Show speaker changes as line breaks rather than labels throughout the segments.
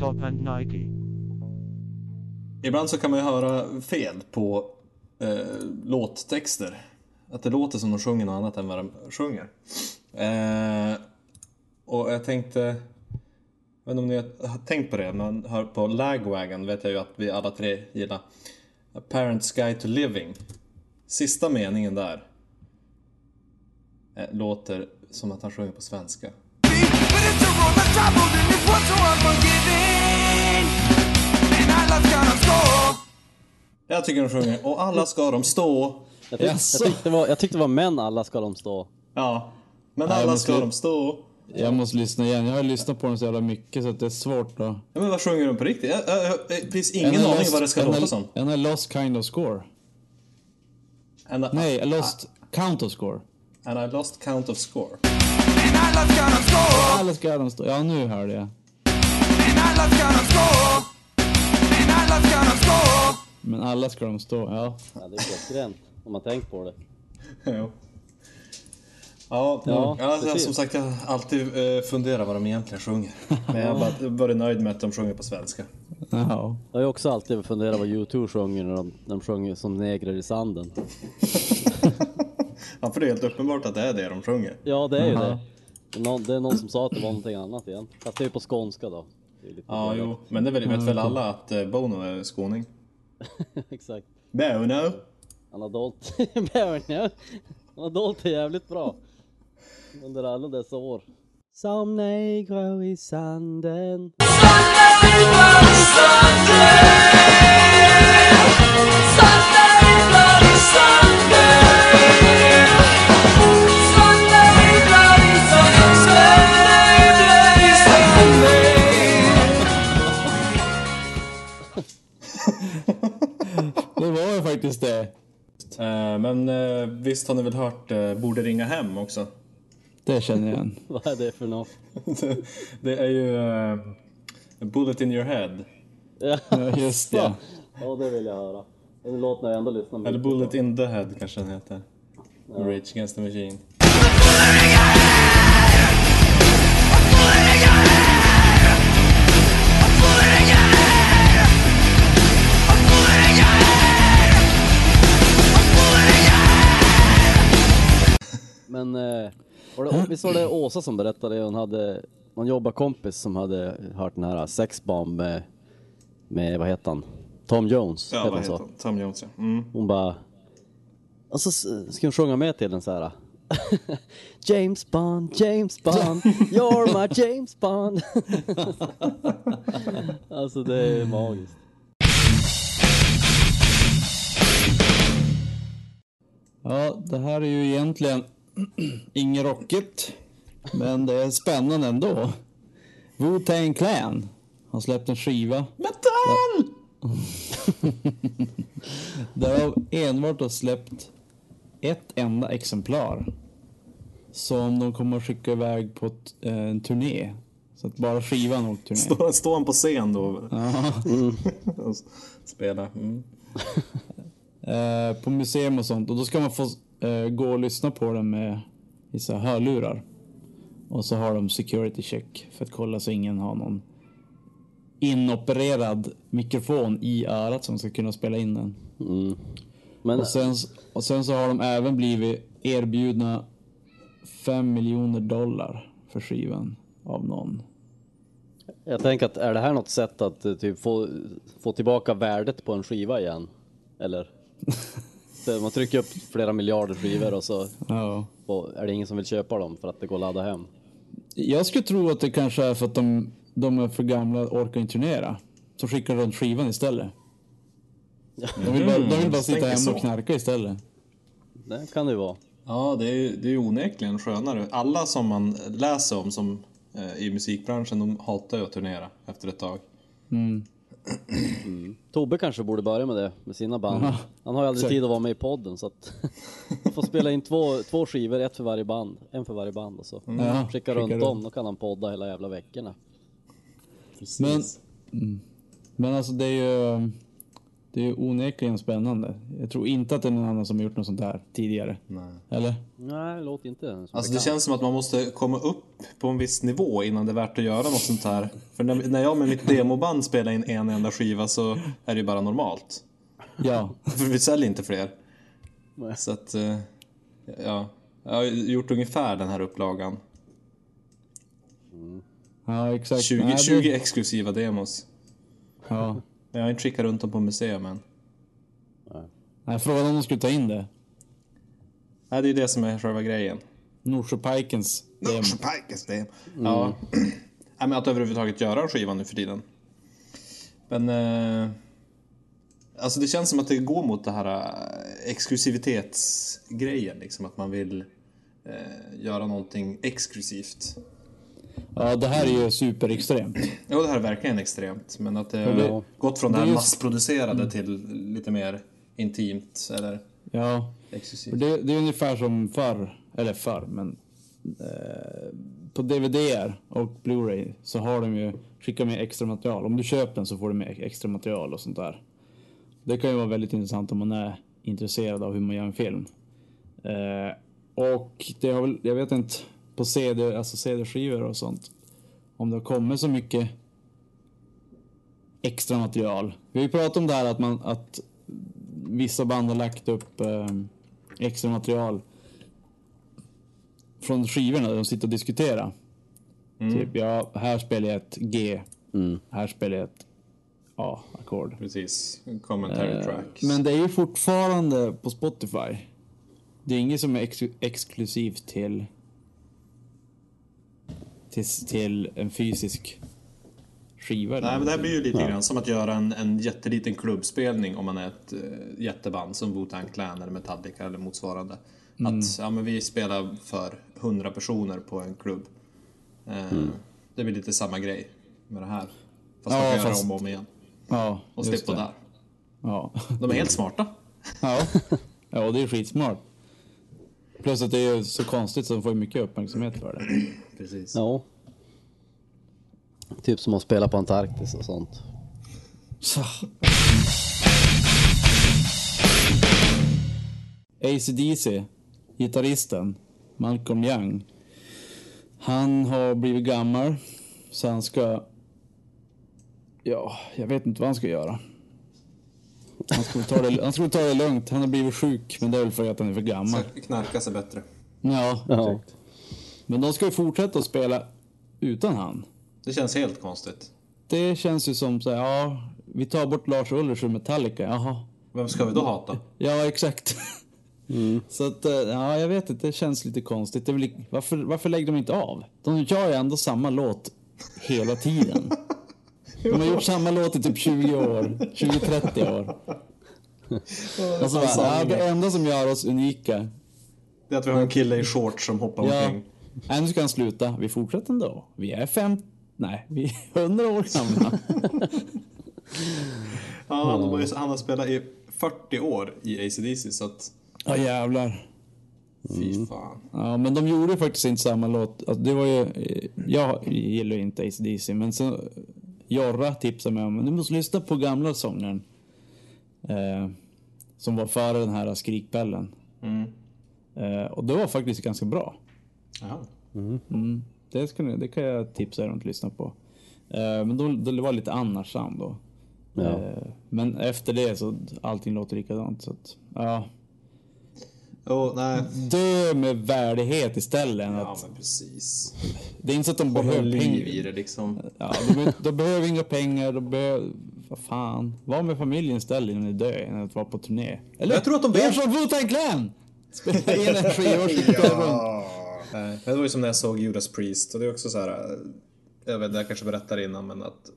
Top and Nike.
Ibland så kan man ju höra fel på eh, låttexter. Att det låter som de sjunger något annat än vad de sjunger. Eh, och jag tänkte... Jag vet inte om ni har tänkt på det, men hör på Lagwagon vet jag ju att vi alla tre gillar. A parent's guide to living. Sista meningen där eh, låter som att han sjunger på svenska.
But it's a roll of trouble, and it's one so unforgiving. And I love gonna score.
Jag tycker de sjunger och alla ska de stå.
Jag, tyck,
Alltså.
Jaså?
jag, tyckte det var, jag tyckte det var män alla ska de stå.
Ja, men
Nej,
alla
men
ska
det-
de stå.
Jag måste lyssna igen. Jag har lyssnat på dem så jävla mycket så att det är svårt då.
Ja, men vad sjunger de på riktigt? Jag, jag, jag, det finns ingen aning vad det ska låta som.
En a lost kind of score.
And I,
Nej, a lost count of score.
and I lost count of score.
And I love gonna score.
Alla ska de stå. Ja, nu hörde jag.
And I love gonna score. And I love gonna score.
Men alla ska de stå, ja.
Ja, det är klockrent om man tänkt på det.
Jo. Ja, ja,
Ja,
alltså,
precis.
som sagt jag har alltid eh, funderat vad de egentligen sjunger. Men jag har bara varit nöjd med att de sjunger på svenska.
Ja.
Jag har ju också alltid funderat vad U2 sjunger när de, när de sjunger som negrer i sanden.
Ja, för det är helt uppenbart att det är det de sjunger.
Ja, det är ju
Aha.
det. Det är, någon, det är någon som sa att det var någonting annat igen. Fast det är ju på skånska då. Det är lite
Ja,
dåligt.
jo. Men det vet, vet väl alla att eh, Bono är skåning?
Exakt.
Bono!
Han har dolt... Björn, Han har dolt det jävligt bra. Under alla dessa år. Som negro i sanden.
Det var ju faktiskt det.
Eh, men eh, visst har ni väl hört eh, Borde ringa hem också?
Det känner jag igen.
Vad är det för något?
det är ju eh, Bullet in your head.
Ja,
Ja, just det.
ja, det vill jag höra. Den låten har jag ändå lyssnat
Eller
mycket på.
Bullet in the head kanske den heter. Rage against the machine.
Men eh, var det, visst var det Åsa som berättade, hon hade någon jobbarkompis som hade hört den här sexbomb med, med vad heter han? Tom Jones,
Ja,
heter
vad
han
heter
så.
han? Tom Jones ja. Mm.
Hon bara... Och så s- ska hon sjunga med till den så här. James Bond, James Bond, you're my James Bond. alltså det är magiskt.
Ja, det här är ju egentligen inget rockigt. Men det är spännande ändå. Wu-Tang Clan har släppt en skiva.
Metal!
Därav enbart har släppt ett enda exemplar. Som de kommer att skicka iväg på t- eh, en turné. Så att bara skivan har åkt turné.
Står, står han på scen då
Ja.
Mm. och s- spelar? Mm.
Eh, på museum och sånt. Och då ska man få eh, gå och lyssna på den med i så här hörlurar. Och så har de security check för att kolla så ingen har någon inopererad mikrofon i örat som ska kunna spela in den.
Men
Och sen, och sen så har de även blivit erbjudna 5 miljoner dollar för skivan av någon.
jag tänker att är det här något sätt att eh, typ få, få tillbaka värdet på en skiva igen? Eller? Så Man trycker upp flera miljarder skivor och så
Ja.
och är det ingen som vill köpa dem för att det går att ladda hem.
Jag skulle tro att det kanske är för att de, de är för gamla och orkar inte turnera. Så skickar de runt skivan istället. De vill bara, de vill bara sitta
tänker
hemma
så.
och knarka istället.
Det kan det ju vara.
Ja, det är ju det är ju onekligen skönare. Alla som man läser om som, eh, i musikbranschen, de hatar ju att turnera efter ett tag.
Tobbe kanske borde börja med det, med sina band.
Ja,
Han har ju aldrig
exakt.
tid att vara med i podden så att han får spela in två, två skivor, ett för varje band, en för varje band och så
Mm. Ja,
skicka
skicka
runt
runt.
dem, då kan han podda hela jävla veckorna.
Precis.
Men- Men alltså det är ju... Det är ju onekligen spännande. Jag tror inte att det är någon annan som har gjort något sånt där tidigare.
Nej.
Eller?
Nej, låt inte. som
Alltså det
bekant.
känns som att man måste komma upp på en viss nivå innan det är värt att göra något sånt här. För när, när jag med mitt demoband spelar in en enda skiva så är det ju bara normalt.
Ja.
För vi säljer inte fler.
Nej.
Så att, eh, ja. Jag har gjort ungefär den här upplagan.
Ja, exakt.
20,
Nej, det-
20 exklusiva demos.
Ja.
Men jag har inte skickat runt dem på museum än.
Nej, frågan om de skulle ta in det.
Nej, det är det som är själva grejen.
Norsjöpikens demo.
Mm. Ja. Nej, men att överhuvudtaget göra en skiva nu för tiden. Men... Eh, alltså det känns som att det går mot det här eh, exklusivitetsgrejen. Liksom, att man vill eh, göra någonting exklusivt.
Ja, det här är ju superextremt.
Jo, det här är verkligen extremt. Men att det har
det-
gått från det
det
här
är ju- Mm.
massproducerade till lite mer intimt eller
Ja.
exklusivt.
För Det, det är ungefär som förr, eller förr, men eh, på DVD och Blu-ray så har de ju, skickar med extra material. Om du köper den så får du med extra material och sånt där. Det kan ju vara väldigt intressant om man är intresserad av hur man gör en film. Eh, och det har väl, jag vet inte, på CD, alltså CD-skivor och sånt, om det har kommit så mycket extra material. Vi har ju pratat om det här att, man, att vissa band har lagt upp eh, extra material från skivorna där de sitter och diskuterar.
Mm.
Typ, ja, här spelar jag ett G. Här spelar jag ett
Mm.
A-ackord.
Precis. Commentary tracks.
Eh, Men det är ju fortfarande på Spotify. Det är inget som är ex- exklusivt till, till, till en fysisk skiva.
Nej, men det här blir ju lite grann som att göra en, en jätteliten klubbspelning om man är ett eh, jätteband som Wu-Tang Clan eller Metallica eller motsvarande.
Mm.
Att ja, men vi spelar för 100 personer på en klubb. Eh, Det blir lite samma grej med det här. Fast man
Mm. Ja,
kan göra
fast-
om och om igen.
ja,
Och
just
slippa
det.
där.
Ja.
De är helt smarta.
Ja, ja och det är skitsmart. Plus att det är så konstigt så de får ju mycket uppmärksamhet för det.
Precis.
Ja. Typ som att spela på Antarktis och sånt.
Så. ACDC, gitarristen Malcolm Young. Han har blivit gammal så han ska... Ja, jag vet inte vad han ska göra. Han skulle ta det, han skulle ta det lugnt. Han har blivit sjuk, men det är väl för att han är för gammal.
Knarka sig bättre.
Ja,
Ja.
Men de ska ju fortsätta att spela utan han.
Det känns helt konstigt.
Det känns ju som så här, ja, vi tar bort Lars Ulrich ur Metallica, jaha.
Vem ska vi då hata?
Ja, exakt. Så att, eh, ja, jag vet inte, det känns lite konstigt. Det är väl, li- varför, varför lägger de inte av? De gör ju ändå samma låt hela tiden. De har gjort samma låt i typ 20 år, 20-30 år. Och så bara, ja, det enda som gör oss unika,
Det är att vi har en kille i shorts som hoppar
ja,
omkring.
nej, nu ska han sluta. Vi fortsätter ändå. Vi är fem, nej, vi är 100 år gamla.
Ja, han, har ju- han har spelat i 40 år i ACDC så att
Ja jävlar.
fy fan.
Ja men de gjorde faktiskt inte samma låt. Alltså, det var ju, eh, jag gillar ju inte ACDC men så Jorra tipsade mig om du måste lyssna på gamla sångaren. Eh, som var före den här skrikbällen. Eh, och det var faktiskt ganska bra.
Jaha.
Det, ska ni, det kan jag tipsa er om att lyssna på. Eh, men då, då var det lite annarsam då. Eh, men efter det så allting låter likadant. Så att, ja.
Jo, nej.
Dö med värdighet istället. än att,
Ja, men precis.
Det är inte så att de
Behöver
behöver
liv i
pengar.
det liksom.
Ja, de, behöver- de behöver inga pengar. De behöver... Vad fan. Var med familjen istället innan ni dör. Innan att vara på turné. Eller?
Jag tror att de
gör
vet.
som Wu-Tang Clan! Spela in en skiva och skicka runt.
Nej, Det var ju som när jag såg Judas Priest och det är också så här. eh, Jag vet, jag kanske berättade innan men att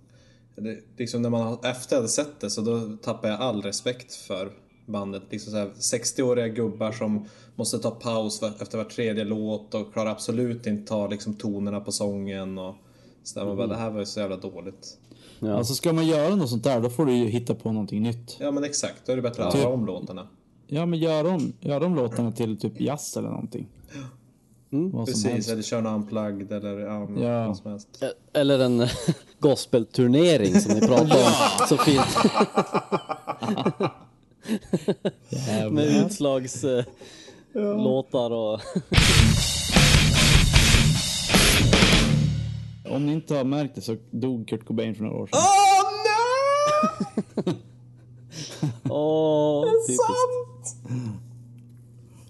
det, liksom när man har- efter jag hade sett det så då tappade jag all respekt för bandet. Liksom så här, 60-åriga gubbar som måste ta paus var- efter var tredje låt och klarar absolut inte ta liksom tonerna på sången och så där. Man bara, det här var ju så jävla dåligt.
Alltså ska man göra något sånt där då får du ju hitta på någonting nytt.
Ja men exakt, då är det bättre att
Typ-
höra om låtarna.
Ja men gör om, gör om låtarna till typ jazz eller någonting. Vad som
Precis,
helst.
eller köra någon unplugged eller ja, men
Ja.
vad som helst.
E- Eller en gospelturnering som ni pratade om så fint. Med utslagslåtar och...
Om ni inte har märkt det så dog Kurt Cobain för några år sedan.
Oh,
Åh nej!
Åh, typ typiskt.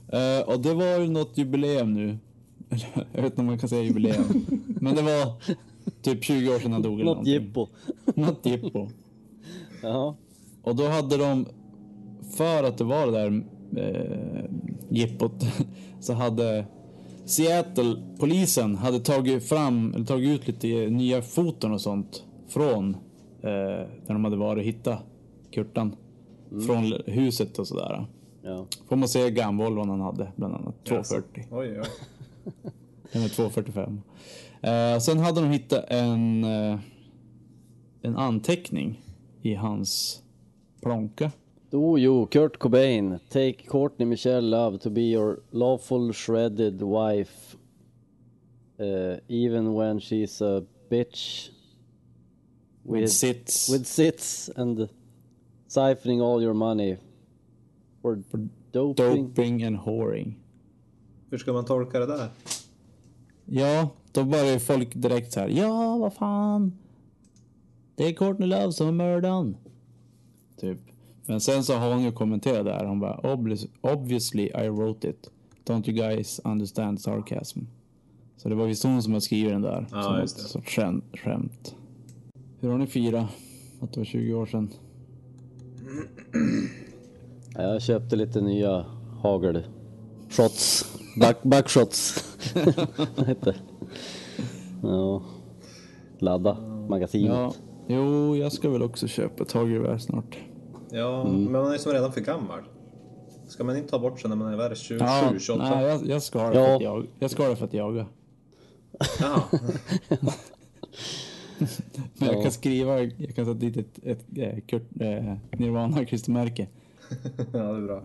Eh, och det var ju något jubileum nu. Eller, Jag vet inte om man kan säga jubileum. Men det var typ 20 år sedan han dog. eller
Något
någonting.
jippo.
Något jippo.
Ja.
Och då hade de, för att det var det där eh, jippot, så hade Seattle-polisen hade tagit fram, eller tagit ut lite nya foton och sånt från eh, där de hade varit och hittat Kurtan.
Mm.
Från huset och sådär.
ja.
Får man se gamvolvan han hade, bland annat. 240.
Oj, oj.
Den är 2.45. Eh, sen hade de hittat en, eh, en anteckning i hans plånka.
Oh jo, Kurt Cobain. Take Courtney Michelle Love to be your lawful shredded wife. eh, even when she's a bitch.
With
With,
sits.
with sits and siphoning all your money. For doping.
Doping and whoring.
Hur ska man tolka det där?
Ja, då börjar ju folk direkt så här. Ja, vad fan. Det är Courtney Love som har mördat han." Typ. Men sen så har hon ju kommenterat där. Hon bara "Obvious- obviously I wrote it. Don't you guys understand sarcasm? Så det var visst hon som har skrivit den där.
Ja,
som
just det.
något sorts skämt, skämt. Hur har ni firat att det var 20 år sedan?
Ja, Jag köpte lite nya hagel. Shots. Back, backshots. Vad heter det? Ja. Ladda magasinet.
Ja, jo, jag ska väl också köpa ett hagelgevär snart.
Ja,
Mm.
men man är ju som redan för gammal. Ska man inte ta bort sig när man är värre 27,
Ja,
28?
nej, jag, jag, ska ha det för
Ja.
att jag, jag ska ha det för att jaga.
Jaha.
Men jag kan skriva, jag kan sätta dit ett, ett, eh, Kurt, eh, Nirvana klistermärke.
ja, det är bra.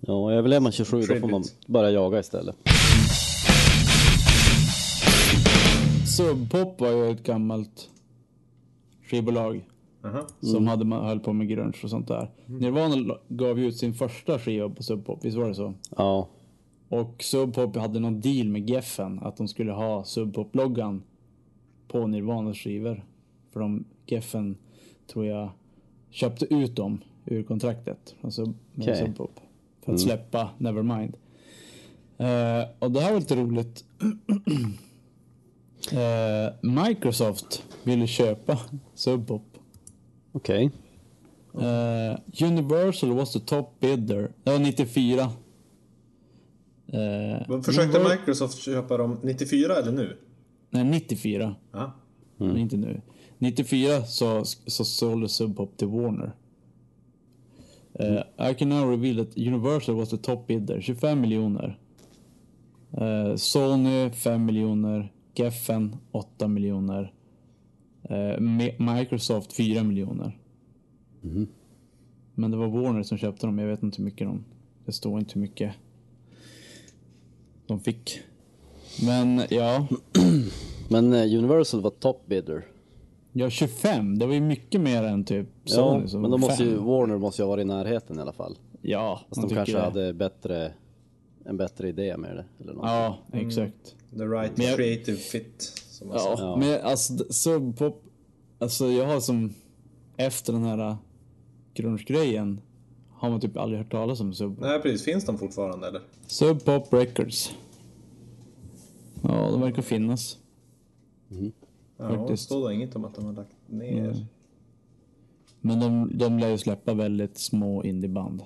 Ja, överlever man 27 då får man börja jaga istället.
Subpop var ju ett gammalt skivbolag
Aha.
som hade man höll på med grunge och sånt där. Nirvana la- gav ju ut sin första skiva på Subpop, visst var det så?
Ja,
Och Subpop hade någon deal med Geffen att de skulle ha Subpop-loggan på Nirvanas skivor. För de, Geffen tror jag köpte ut dem ur kontraktet från Sub, med
Okej.
Subpop. För att släppa Nevermind. Eh, och det här var lite roligt. Eh, Microsoft ville köpa Subpop.
okej.
Eh, Universal was the top bidder. Det var 94. Eh,
Men Försökte
Univer-
Microsoft köpa dem 94 eller nu?
Nej, 94.
Ja.
Men inte nu. 94 så, så sålde Subpop till Warner. Eh, I can now reveal that Universal was the top bidder. 25 miljoner. Eh, Sony 5 miljoner. Geffen 8 miljoner. Eh, Mi- Microsoft 4 miljoner. Men det var Warner som köpte dem. Jag vet inte hur mycket de... Det står inte hur mycket de fick. Men ja.
Men eh, Universal var top bidder.
Ja, 25. Det var ju mycket mer än typ Sony
Ja,
som
men
var
de måste
fem.
ju, Warner måste ju ha varit i närheten i alla fall.
Ja,
Fast de
man tycker
kanske
det.
hade bättre, en bättre idé med det. Eller något.
Ja, exakt.
Mm.
The right
Men jag-
creative fit. Som man
Ja,
säger.
men alltså d- subpop. Alltså jag har som efter den här grunge-grejen har man typ aldrig hört talas om sub.
Nej, precis. Finns de fortfarande eller?
Subpop Records. Ja, de verkar finnas.
Ja, det
Faktiskt. Mm.
står då inget om att de har lagt ner.
Men de, de lär ju släppa väldigt små indieband.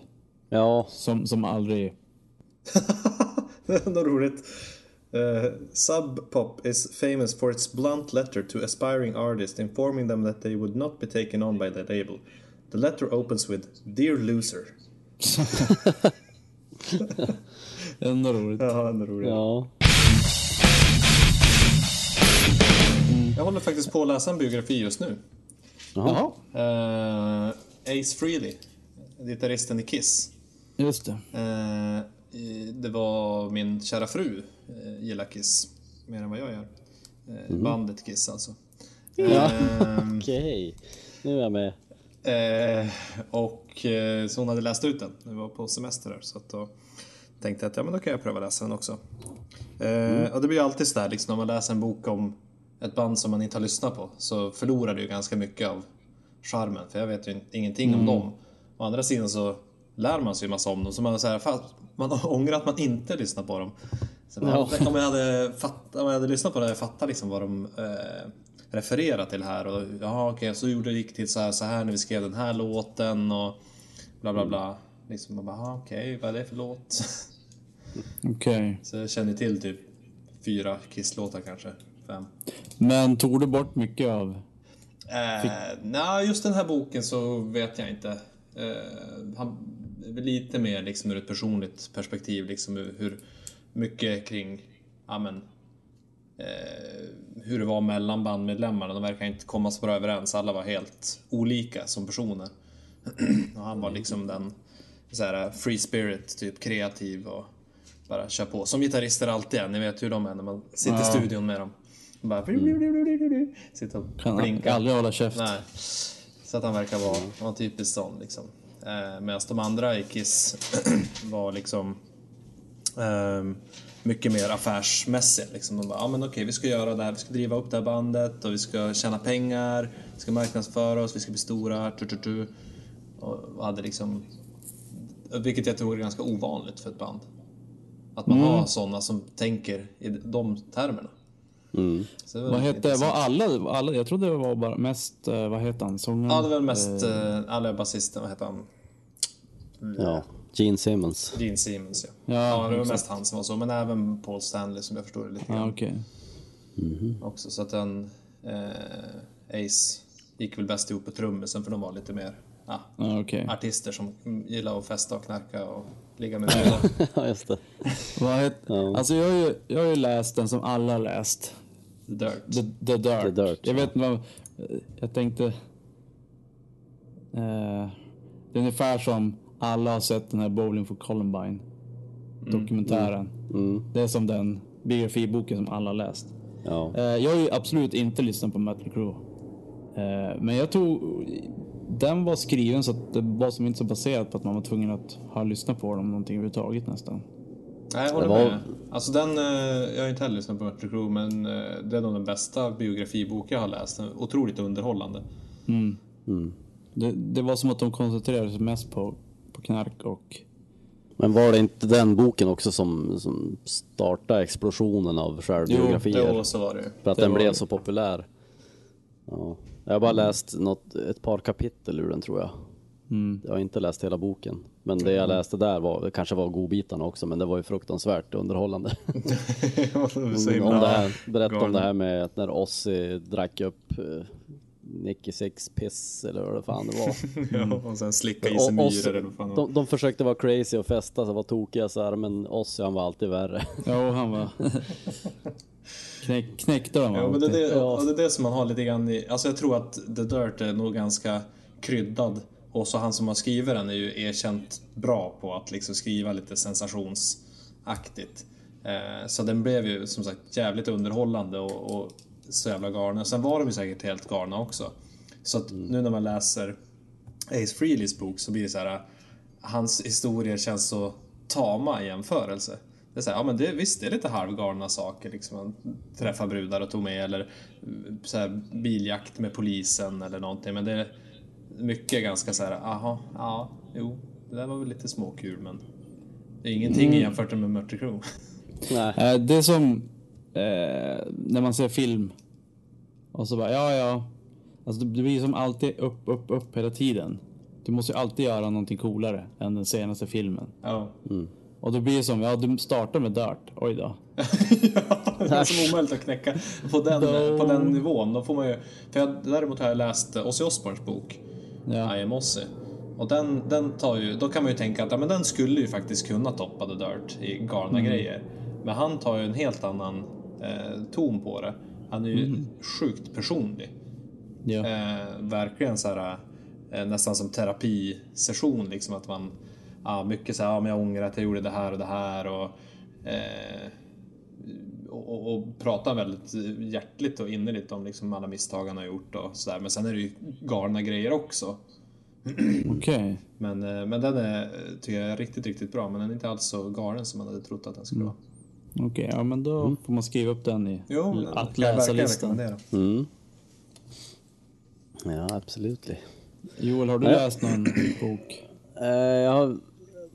ja.
Som, som aldrig...
Något roligt. Uh, Sub Pop is famous for its blunt letter to aspiring artists informing them that they would not be taken on by the label. The letter opens with “Dear loser”.
Ändå roligt.
Ja, ändå roligt.
ja.
Jag håller faktiskt på att läsa en biografi just nu.
Jaha,
Eh, Ace Frehley, gitarristen i Kiss.
just det.
Eh, i- det var min kära fru eh, gillar Kiss mer än vad jag gör. Eh, Bandet Kiss alltså.
Ja.
Ehm,
Okej, nu är jag med.
Eh, och eh, så hon hade läst ut den när vi var på semester där. Så att då tänkte jag att ja, men då kan jag pröva läsa den också. Eh, Och det blir ju alltid sådär liksom, när man läser en bok om ett band som man inte har lyssnat på så förlorar det ju ganska mycket av charmen. För jag vet ju in- ingenting om dem. Å andra sidan så lär man sig ju massa om dem. Så man, är så här, fast, man ångrar att man inte lyssnar på dem. Så man,
Ja.
om, jag hade fatt, om jag hade lyssnat på det hade jag fattat liksom vad de eh, refererar till här. Och, jaha, okej, så gjorde det riktigt så här, så här när vi skrev den här låten och bla bla bla. Liksom, man bara, "Aha, okej, vad är det för låt?
Okej.
Så jag känner till typ fyra kisslåtar kanske. Fem.
Men tog du bort mycket av...
Eh, Nej, just den här boken så vet jag inte. Eh, han, lite mer liksom ur ett personligt perspektiv, liksom hur, hur mycket kring ja, men, eh, hur det var mellan bandmedlemmarna. De verkar inte komma så bra överens. Alla var helt olika som personer. och han var liksom den så här, eh, free spirit, typ kreativ och bara kör på. Som gitarrister alltid är. Ni vet hur de är när man sitter i
Ja. Mm.
studion med dem. Bara... Sitter och
Kan
blinkar.
aldrig hålla käft.
Nej. Så att han verkar vara, vara typiskt sån liksom. Eh, Medan de andra i Kiss var liksom ehm, mycket mer affärsmässiga. Liksom. De bara, ja men okej vi ska göra det här, vi ska driva upp det här bandet och vi ska tjäna pengar, vi ska marknadsföra oss, vi ska bli stora, tu, tu, tu. Och hade liksom, vilket jag tror är ganska ovanligt för ett band. Att
Mm.
man har sådana som tänker i de termerna. Så det var
Mm. Vad
lite
hette... Var alla, alla... Jag trodde det var bara mest... eh, Vad heter han? Sångaren?
Ja, det var väl mest eh, alla basisten, vad hette han?
Ja, Gene Simmons.
Gene Simmons ja.
Ja,
Ja, det var
exakt.
mest han som var så, men även Paul Stanley som jag förstod det lite
Ja,
grann
okej.
också. Så att den eh, Ace gick väl bäst ihop på trummisen för de var lite mer ja,
Ja, okej.
artister som mm, gillar att festa och knarka och ligga med brudar.
ja, just det.
Vad het... Alltså jag har, ju, jag har ju läst den som alla har läst.
The Dirt.
The, the, dirt.
The Dirt,
Jag vet inte vad... Jag tänkte... Eh, det är ungefär som alla har sett den här Bowling for Columbine.
Mm.
Dokumentären. Det är som den biografiboken som alla har läst.
Ja.
Eh, jag har ju absolut inte lyssnat på Mötley Crüe. Eh, men jag tror... Den var skriven så att det var som inte så baserat på att man var tvungen att ha lyssnat på dem någonting överhuvudtaget nästan.
Nej, jag håller
Det var-
med. Alltså den, eh, jag har inte heller lyssnat på Mötley Crüe men eh, det är nog den bästa biografibok jag har läst. Den är Otroligt underhållande.
Det, det var som att de koncentrerade sig mest på, på knark och...
Men var det inte den boken också som, som startade explosionen av självbiografier?
Jo, så var det ju.
För att
Det
den
var
blev
det.
så populär. Ja. Jag har bara läst något, ett par kapitel ur den tror jag.
Mm.
Jag har inte läst hela boken. Men det jag läste där var, det kanske var godbitarna också, men det var ju fruktansvärt underhållande.
Så
om
himla
det här, berätta om
galen.
det här med att när Ozzy drack upp eh, Nicky Six piss eller vad fan det var.
Ja, och sen slicka i
Mm. Och
sig
Ozzy-
myror eller vad fan det var.
de, de försökte vara crazy och festa, så var tokiga så här, men Ozzy han var alltid värre.
Ja, och han var... Knäck, knäckte dem
Ja, men det, är
alltid.
det, och det är det som man har lite grann i... Alltså jag tror att The Dirt är nog ganska kryddad. Och så han som har skrivit den är ju erkänt bra på att liksom skriva lite sensationsaktigt. Eh, så den blev ju som sagt jävligt underhållande och, och så jävla galna. Sen var de ju säkert helt galna också. Så att
Mm.
nu när man läser Ace Frehleys bok så blir det så här. äh, Hans historier känns så tama i jämförelse. Det är så här, ja men det, visst det är lite halvgalna saker liksom. Han träffar brudar och tog med eller mm, så här, biljakt med polisen eller någonting. Men det är mycket ganska så här, aha, ja, jo, det där var väl lite småkul men det är ingenting jämfört med Mörter Kro.
Nej.
Eh, det är som eh, när man ser film och så bara, ja, ja. Alltså, det blir som alltid upp, upp, upp hela tiden. Du måste ju alltid göra någonting coolare än den senaste filmen.
Ja.
Och då blir det som, ja, du startar med Dirt. Oj då.
ja, det är som omöjligt att knäcka på den, på den nivån. Då får man ju, för jag, däremot har jag läst Ozzy Osbournes bok
Ja.
I am Ozzy. Och den, den tar ju, då kan man ju tänka att ja, men den skulle ju faktiskt kunna toppa The Dirt i galna grejer. Men han tar ju en helt annan eh, ton på det. Han är ju sjukt personlig.
ja.
Eh, verkligen så här, eh, nästan som terapisession liksom att man ja, mycket så här, ja, men jag ångrar att jag gjorde det här och det här och eh, och, och, och pratar väldigt hjärtligt och innerligt om liksom alla misstag han har gjort och sådär. Men sen är det ju galna grejer också.
Okej.
Men, eh, men den är, eh, tycker jag är riktigt, riktigt bra. Men den är inte alls så galen som man hade trott att den skulle vara.
Okej, ja men då får man skriva upp den i...
Mm. Jo, men den kan jag
Att läsa
verkligen
listan.
rekommendera.
Mm. Ja, absolut.
Joel, har du läst någon bok?
Eh, jag har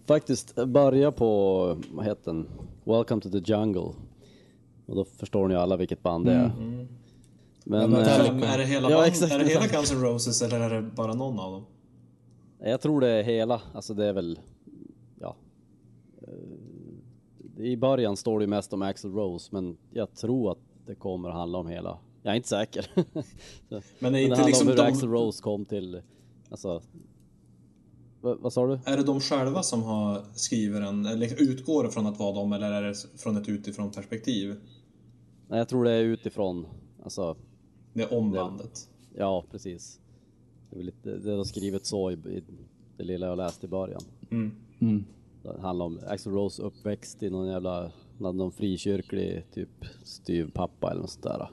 faktiskt börjat på, vad heter den? Welcome to the Jungle. Och då förstår ni ju alla vilket band det är. Men, eh,
Vem- Mm. Är det hela,
Ja,
band-
exakt.
är det hela Guns N' Roses eller är det bara någon av dem?
jag tror det är hela, alltså det är väl, ja. Eh, I början står det ju mest om Axl Rose, men jag tror att det kommer att handla om hela. Jag är inte säker. Så-
Men är
men det
inte
handlar
liksom
om hur
de,
Axl Rose kom till, alltså, vad, vad sa du?
är det de själva som har skrivit den? Eller liksom utgår det från att vara dem eller är det från ett utifrån perspektiv?
Nej, jag tror det är utifrån, alltså
Det är om bandet.
Ja, precis. Det är, väl lite, det har skrivit så i, i det lilla jag läste i början. Det handlar om Axl Rose uppväxt i någon jävla, någon frikyrklig typ styvpappa eller något sånt där.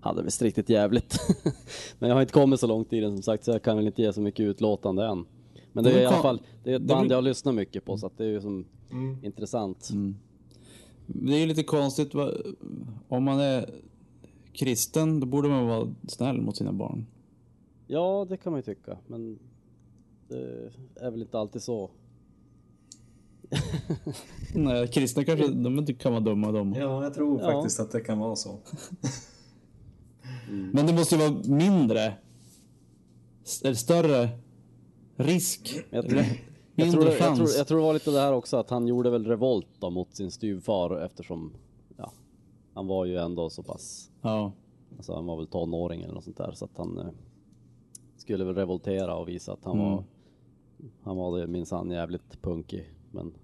Hade visst riktigt jävligt. Men jag har inte kommit så långt i den som sagt så jag kan väl inte ge så mycket utlåtande än. Men det
Det
är
är
i alla
kon-
fall det är ett
det är
band
väl-
jag lyssnar mycket på så att det är ju som intressant.
Det är ju lite konstigt. va- Om man är kristen, då borde man vara snäll mot sina barn.
Ja, det kan man ju tycka, men det är väl inte alltid så.
Nej, kristna kanske de inte kan vara dumma de.
Mm. Ja, jag tror
Ja.
faktiskt att det kan vara så.
Men det måste ju vara mindre, s- eller större risk.
Men Jag tror, jag, tror,
Mindre
jag, tror,
chans.
jag tror det var lite det här också att han gjorde väl revolt då mot sin styvfar eftersom ja, han var ju ändå så pass,
Ja.
alltså han var väl tonåring eller något sånt där så att han eh, skulle väl revoltera och visa att han var, han var det minsann jävligt punkig. Men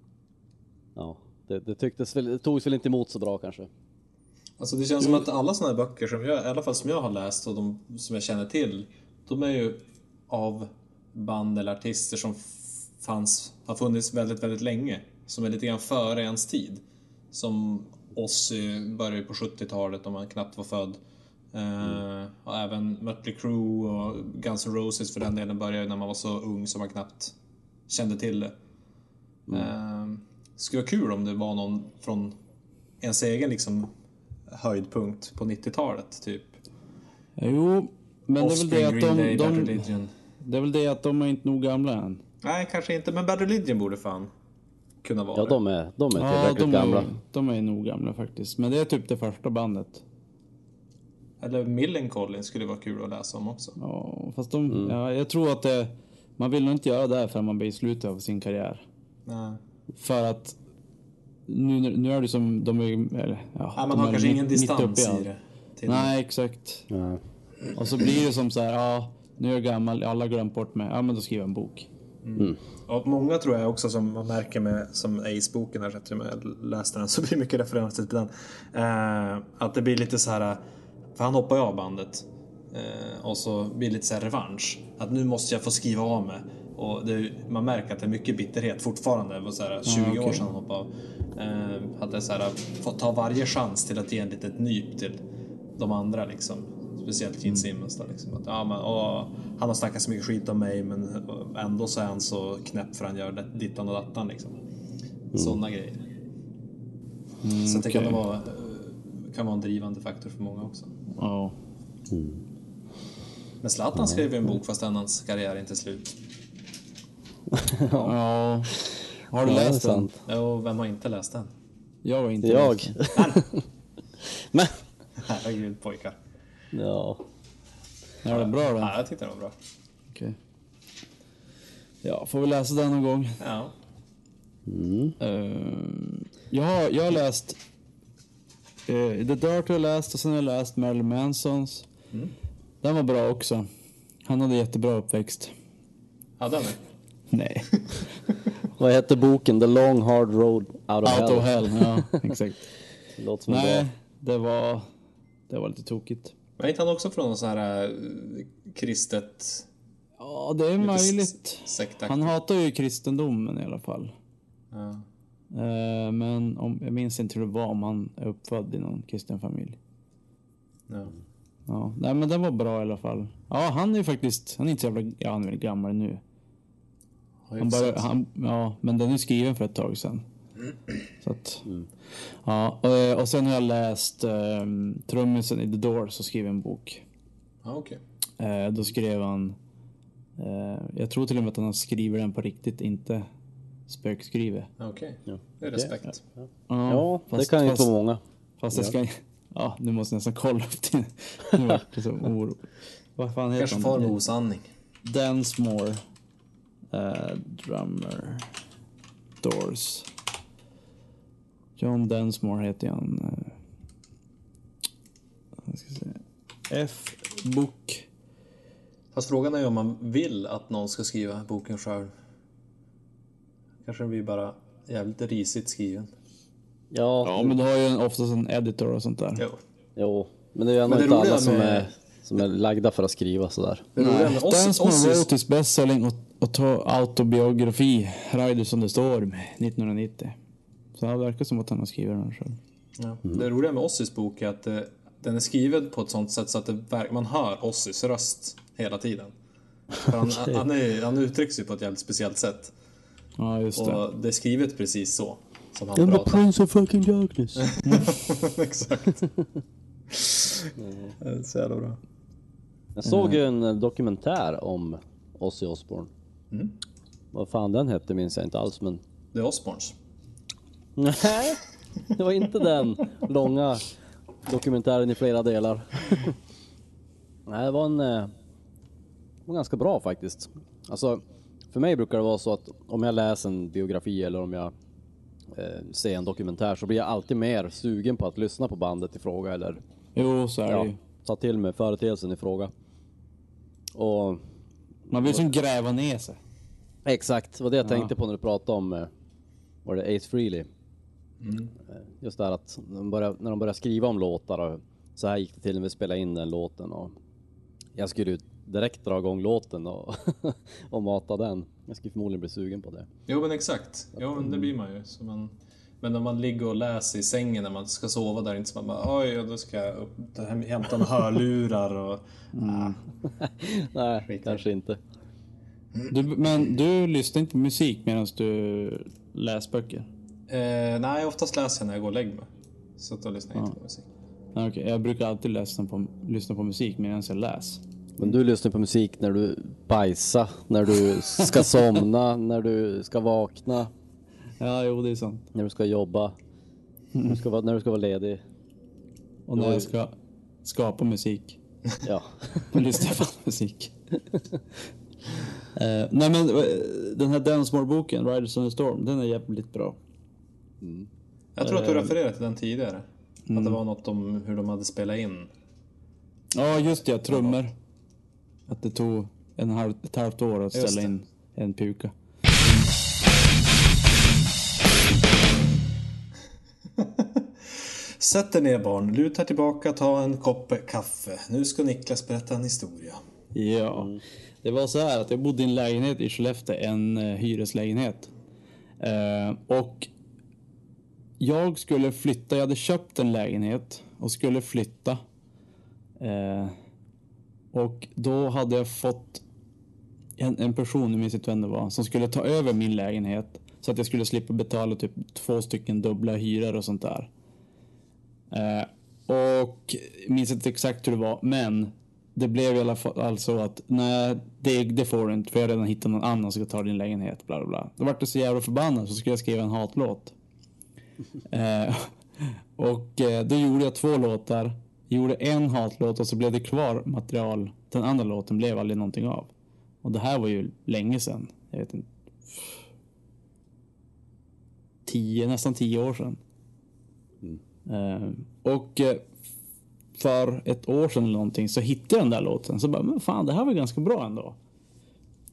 ja, det, det tycktes väl, det togs väl inte emot så bra kanske.
Alltså det känns som att alla såna här böcker, som jag, i alla fall som jag har läst och de som jag känner till, de är ju av band eller artister som f- fanns, har funnits väldigt, väldigt länge. Som är lite grann före ens tid. Som Ozzy började ju på 70-talet om han knappt var född. Eh, och även Mötley Crüe och Guns N' Roses för den delen började ju när man var så ung som man knappt kände till det. Eh, skulle vara kul om det var någon från ens egen liksom höjdpunkt på 90-talet typ.
Jo, men det är väl det att
Green Day,
de,
Bad
de,
Religion.
det är väl det att de är inte nog gamla än.
Nej, kanske inte, men Bad Religion borde fan kunna vara
Ja,
det.
de är, de är
Ja,
tillräckligt
de
gamla.
är, de är nog gamla faktiskt. Men det är typ det första bandet.
Eller Millencolin skulle vara kul att läsa om också.
Ja, fast de,
Mm.
ja, jag tror att det, man vill nog inte göra det här förrän man blir i slutet av sin karriär.
Nej.
För att nu, nu är det som de är... Eller, ja,
Ja, man
de
har
är
kanske
mitt-
ingen
mitt uppe
distans i
allt.
det. till-
Nej, exakt.
Ja.
Och så blir det som så här, ja, nu är jag gammal, alla har glömt bort mig. Ja, men då skriver jag en bok.
Och många tror jag också som man märker med som Ace-boken här, så att jag läste den så blir det mycket referenser till den. Eh, att det blir lite så här, eh, för han hoppar ju av bandet. Eh, och så blir det lite så här revansch. Att nu måste jag få skriva av mig. Och det, man märker att det är mycket bitterhet fortfarande. Det var så här 20 år
okej.
sedan han hoppade av. Eh, att det är så här, få ta varje chans till att ge en litet nyp till de andra liksom. Speciellt Gene Simmons där liksom. Att, ja, men, åh, han har snackat så mycket skit om mig men ändå så är han så knäpp för han gör det- dittan och dattan liksom. Sådana grejer. så det kan
okej.
vara, eh, kan vara en drivande faktor för många också.
Ja.
Men Zlatan skrev ju en bok fastän hans karriär inte är slut.
ja. Har du
Ja, det är
läst den?
sant.
Och vem har inte läst den?
Jag har inte
Jag.
läst den.
Men,
Herregud pojkar.
ja.
Ja, det är bra då.
Ja, jag tyckte den var bra.
Okej. Ja, får vi läsa den någon gång?
Ja.
Ehm, jag, har, jag har läst eh, The Dirt har jag läst och sen har jag läst Marilyn Mansons. Den var bra också. Han hade jättebra uppväxt.
Hade han det?
Nej.
Vad heter boken? The long hard road out of
Out
hell.
of hell. Ja, exakt.
Låter som en bra
Nej, det var, det var lite tokigt.
Var inte han också från någon sån här eh, kristet
Ja, det är möjligt.
sektaktig?
Han hatar ju kristendomen i alla fall.
Ja.
Eh, men om, jag minns inte hur det var om han är uppfödd i någon kristen familj.
Ja.
Ja, nej men den var bra i alla fall. Ja, han är ju faktiskt, han är inte så jävla, ja han är väl gammal nu. Han började, han, ja, men den är skriven för ett tag sedan. Så att,
Mm.
ja, och, och sen har jag läst eh, trummisen i The Doors och skrev en bok.
Ja, okej.
Eh, då skrev han, eh, jag tror till och med att han skriver den på riktigt, inte spökskrivet.
Ja, Okej. Det är respekt.
Ja,
fast-
det kan ju
fast-
få många.
Fast jag ska... Ja, nu måste jag nästan kolla upp det. Nu vart det som oro. Vad fan heter
Kanske
han? Eh,
far med osanning.
Dansmore. eh, drummer. Doors. John Dansmore heter han. eh. Jag ska se. F. Book.
Fast frågan är ju om man vill att någon ska skriva boken själv. Kanske den blir bara jävligt risigt skriven.
Ja,
Ja, men du har ju en, oftast en editor och sånt där.
Jo.
jo. Men det är ju ändå
Men det
inte
roliga
alla som,
med-
är, som är lagda för att skriva sådär.
Det roliga med oss,
Dansmore
oss
wrote
är,
his typ bestselling och, och ta autobiografi, Riders on the Storm, 1990. Så det verkar som att han har skrivit den själv.
ja. det roliga med Ossis bok är att eh, den är skriven på ett sånt sätt så att det verk, man hör Ossis röst hela tiden. För han, han, är, han uttrycks ju på ett jävligt speciellt sätt.
Ja, just det.
Och det är skrivet precis så. Som han pratar.
prince of fucking darkness.
Exakt. Det är så jävla bra.
Jag såg ju en eh, dokumentär om Ozzy Osbourne. Vad fan den hette minns jag inte alls men...
Det är Osborns.
Nej, det var inte den långa dokumentären i flera delar. Nej, det var en... eh, var ganska bra faktiskt. Alltså, för mig brukar det vara så att om jag läser en biografi eller om jag eh, ser en dokumentär så blir jag alltid mer sugen på att lyssna på bandet i fråga eller
Jo, så är det
ja,
ju.
ta till mig företeelsen i fråga. Och
Man vill som gräva ner sig.
Exakt, det var det jag tänkte på när du pratade om eh, var det Ace Frehley.
Mm.
Eh, Just det här att när de började, när de började skriva om låtar och så här gick det till när vi spelade in den låten och jag skulle ju direkt dra igång låten och, och mata den. Jag skulle förmodligen bli sugen på det.
Jo men exakt, jo, men det blir man ju. Så man, men när man ligger och läser i sängen när man ska sova där, inte så man bara oj, ja, då ska jag upp, ta hem- hämta några hörlurar och... Ah,
Nej,
Skit i
kanske inte.
Du, men du lyssnar inte på musik medan du läser böcker?
eh, nej, oftast läser jag när jag går och lägger mig. Så att då lyssnar jag inte på musik.
Nej, okej. Jag brukar alltid läsa på, lyssna på musik medan jag läser.
Men du lyssnar på musik när du bajsar, när du ska somna, när du ska vakna,
Ja, jo, det är sant.
när du ska jobba, när du ska vara, när du ska vara ledig.
Och när jag ska skapa musik.
Ja.
Nu lyssnar jag på musik. Eh, nej men eh, den här Densmore-boken, Riders on the Storm, den är jävligt bra.
Jag tror att du refererade till den tidigare. Att det var något om hur de hade spelat in.
Ja just det, trummor. Att det tog en halv, ett halvt år att
Just
ställa
det.
in en puka.
Sätt er ner barn, luta er tillbaka, ta en kopp kaffe. Nu ska Niklas berätta en historia.
Ja. Mm. Det var så här att jag bodde i en lägenhet i Skellefteå, en eh, hyreslägenhet. Eh, och jag skulle flytta, jag hade köpt en lägenhet och skulle flytta. Eh, och då hade jag fått en, en person, nu minns inte vem det var, som skulle ta över min lägenhet. Så att jag skulle slippa betala typ två stycken dubbla hyror och sånt där. Eh, och jag minns inte exakt hur det var, men det blev i alla fall så att nej, det, det får du inte för jag har redan hittat någon annan som ska ta din lägenhet. Bla, bla, bla. Då vart jag så jävla förbannad så skulle jag skriva en hatlåt. eh, och eh, då gjorde jag två låtar. Gjorde en hatlåt och så blev det kvar material. Den andra låten blev aldrig någonting av. Och det här var ju länge sedan. Jag vet inte. Tio, nästan tio år sedan. Eh, och eh, för ett år sedan eller någonting så hittade jag den där låten. Så bara, men fan det här var ganska bra ändå.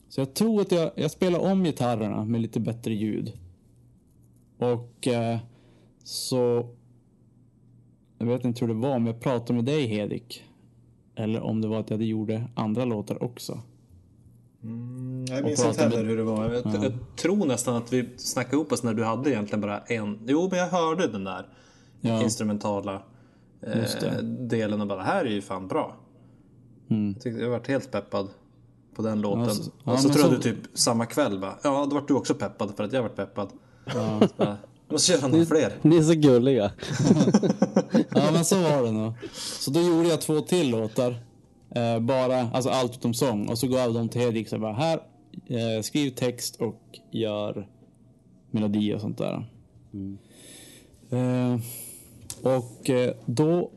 Så jag tror att jag, jag spelar om gitarrerna med lite bättre ljud. Och eh, så... Jag vet inte hur det var, om jag pratade med dig Hedik. Eller om det var att jag gjorde andra låtar också.
Jag minns
Och
inte
prata
heller hur det var. Jag, jag tror nästan att vi snackade ihop oss när du hade egentligen bara en. Jo, men jag hörde den där
Ja.
instrumentala.
Just det. Mm.
eh, delen och bara, det här är ju fan bra. Jag, tyckte, jag varit helt peppad på den låten.
Ja, så- ja,
och så
men
tror jag
så-
du typ samma kväll bara, ja då vart du också peppad för att jag vart peppad. Så bara, jag måste göra några fler.
Ni är så gulliga.
Ja men så var det nog. Så då gjorde jag två till låtar. Eh, bara, alltså allt utom sång. Och så gav de till Hedvig så bara här, eh, skriv text och gör melodi och sånt där. Eh, och eh, då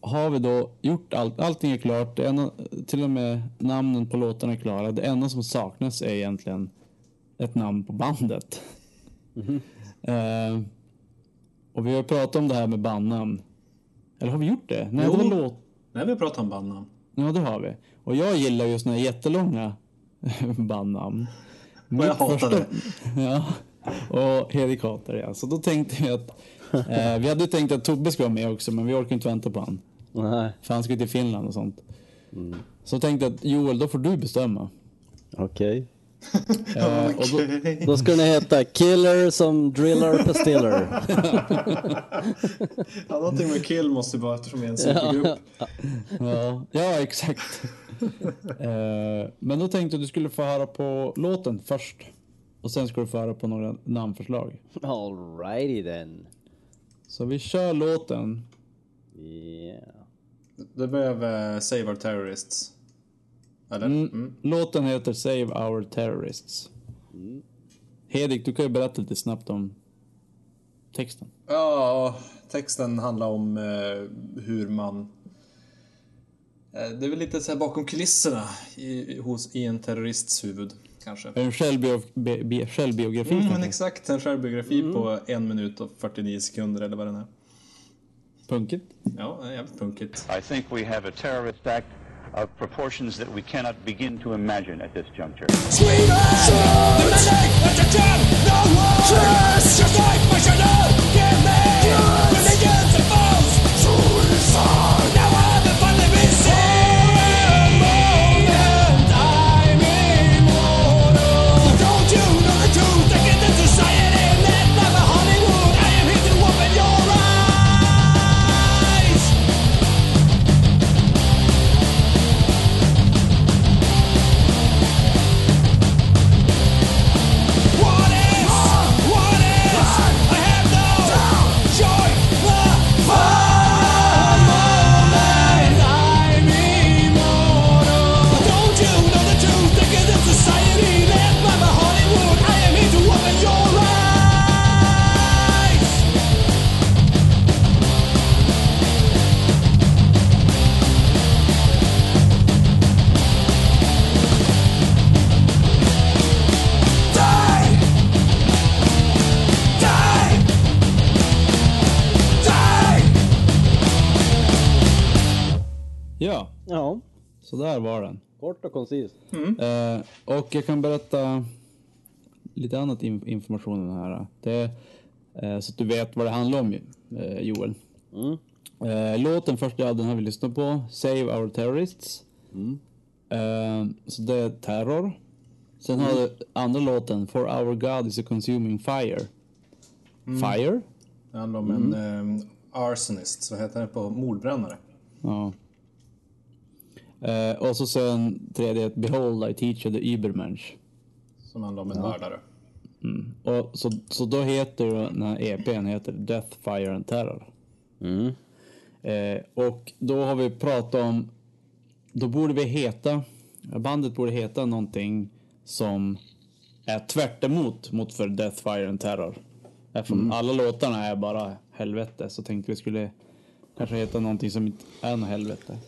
har vi då gjort allt. Allting är klart. Det enda, till och med namnen på låtarna är klara. Det enda som saknas är egentligen ett namn på bandet. Eh, och vi har pratat om det här med bandnamn. Eller har vi gjort det? Nej,
Jo.
det var låt...
Nej, vi pratar om bandnamn.
Ja, det har vi. Och jag gillar ju såna här jättelånga bandnamn.
Och jag hatar det.
Ja, och Hedvig hatar det. ja. Så då tänkte vi att... Eh, vi hade ju tänkt att Tobbe skulle vara med också, men vi orkar inte vänta på han.
Nej,
För han ska ju till Finland och sånt.
Mm.
Så tänkte jag att Joel, då får du bestämma.
okej.
Eh, och då,
Okej.
Då ska ni heta Killer som Driller Pastiller.
Ja, någonting med kill måste ju vara eftersom vi är en supergrupp.
ja, ja, exakt. Eh, men då tänkte jag att du skulle få höra på låten först. Och sen ska du få höra på några namnförslag.
Alrighty then.
Så vi kör låten.
Yeah.
Det blev eh, Save Our Terrorists. Eller? Mm.
Låten heter Save Our Terrorists. Hedik, du kan ju berätta lite snabbt om texten.
Ja, texten handlar om eh, hur man... Eh, det är väl lite så här bakom kulisserna i, i- hos, i en terrorists huvud, kanske.
En självbiografi. Be, be, självbiografi
Mm, men
kanske.
exakt, en självbiografi på en minut och 49 sekunder eller vad den är.
Punkigt.
Ja, det är jävligt punkigt.
I think we have a terrorist act of proportions that we cannot begin to imagine at this juncture.
What is? What is? I have no joy left for moment. I'm immortal. Don't you know the truth? Think of the society led by the Hollywood. I am here to open your eyes. Die! Die! Die!
Ja,
Ja,
så där var den.
kort och koncist.
Eh, och jag kan berätta lite annat in- information om den här. Det, eh, så att du vet vad det handlar om, eh, Joel. Eh, låten först, ja, den har vi lyssnat på. Save Our Terrorists. Eh, så det är terror. Sen har du andra låten, For Our God Is A Consuming Fire. Fire?
Det handlar om en eh, arsonist, vad heter det på mordbrännare?
Ja. Eh, och så sen tredje, är Behold I Teach You The Übermensch.
Som handlar om en mördare.
Och så, så då heter ju den här EPn heter Death, Fire and Terror. Mm. Eh, och då har vi pratat om, då borde vi heta, bandet borde heta någonting som är tvärt emot mot för Death, Fire and Terror. Eftersom alla låtarna är bara helvete så tänkte vi skulle kanske heta någonting som inte är något helvete.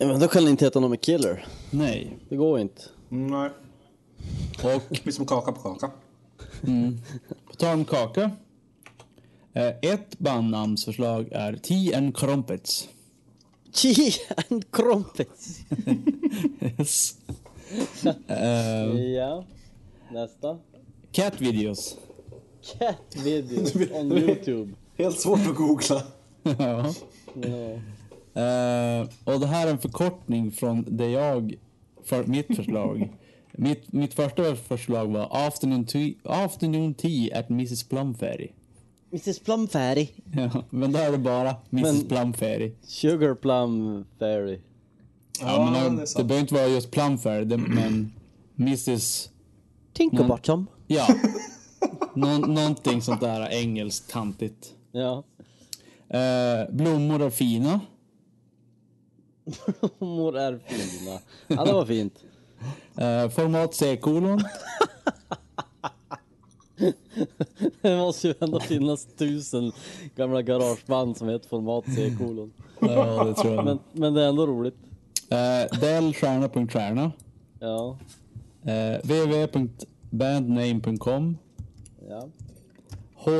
Ja, men då kan ni inte heta någon med Killer.
Nej.
Det går inte.
Mm, nej,
Och
det blir som kaka på kaka.
På tal om kaka. Eh, Ett bandnamnsförslag är TN Crumpets.
Chi and Krompis.
Yes.
Ja, nästa.
Cat videos.
Cat videos on YouTube.
Helt svårt att googla.
ja.
Ja.
Eh, och det här är en förkortning från det jag, för mitt förslag. mitt, mitt första förslag var afternoon tea, afternoon tea at Mrs Plumferry.
Mrs Plum Fairy.
Ja, men där är det bara Mrs
Men-
Plum Fairy.
Sugar Plum Fairy.
Ja, men det, det behöver inte vara just Plum Fairy, det, men Mrs...
Tinkerbottom.
Mm.
Ja. Nå- någonting sånt där engelskt tantigt.
Ja.
Eh, blommor är fina.
Blommor är fina. Ja, det var fint.
Eh, format C-kolon.
Det måste ju ändå finnas tusen gamla garageband som heter format C-kolon.
ja, det tror jag.
Men, men det är ändå roligt.
Eh, Del stjärna punkt stjärna.
Ja.
Eh, www.bandname.com.
Ja.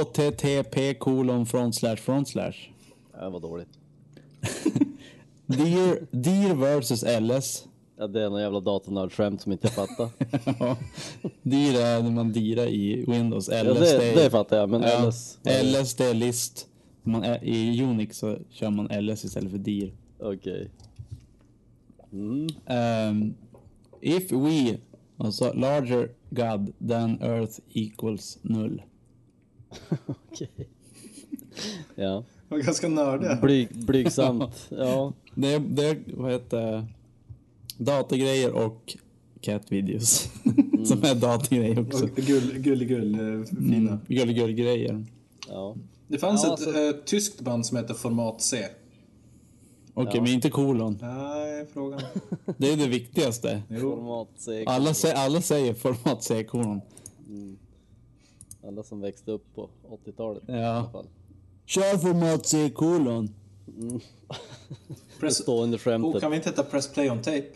http kolon front slash front slash.
ja det var dåligt.
Deer, deer versus LS.
Ja, det är någon jävla datornördskämt som inte jag fattar.
Ja. Deer är när man deerar i Windows. LS
Ja, det, det fattar jag, men
Ja.
LS.
LS det är list. Man är, I Unix så kör man LS istället för dir.
Okej.
Ehm, if we, alltså larger God than earth equals null.
Okej. Ja.
Det var ganska nördiga.
Blyg, blygsamt. Ja.
Det är, det är vad heter det? datagrejer och cat videos. Som är datagrejer också.
Gull, gull, gull, eh, fina.
Gulligull-grejer.
ja.
Det fanns
Ja,
ett
alltså-
eh, tyskt band som hette Format C.
Okej, men inte kolon.
Nej, frågan.
Det är det viktigaste.
Format C.
Alla, sä- alla säger format C kolon.
Alla som växte upp på 80-talet. i alla
Ja.
fall.
Kör format C kolon.
Press...
Stående
Oh,
skämtet.
kan vi inte heta Press Play on Tape?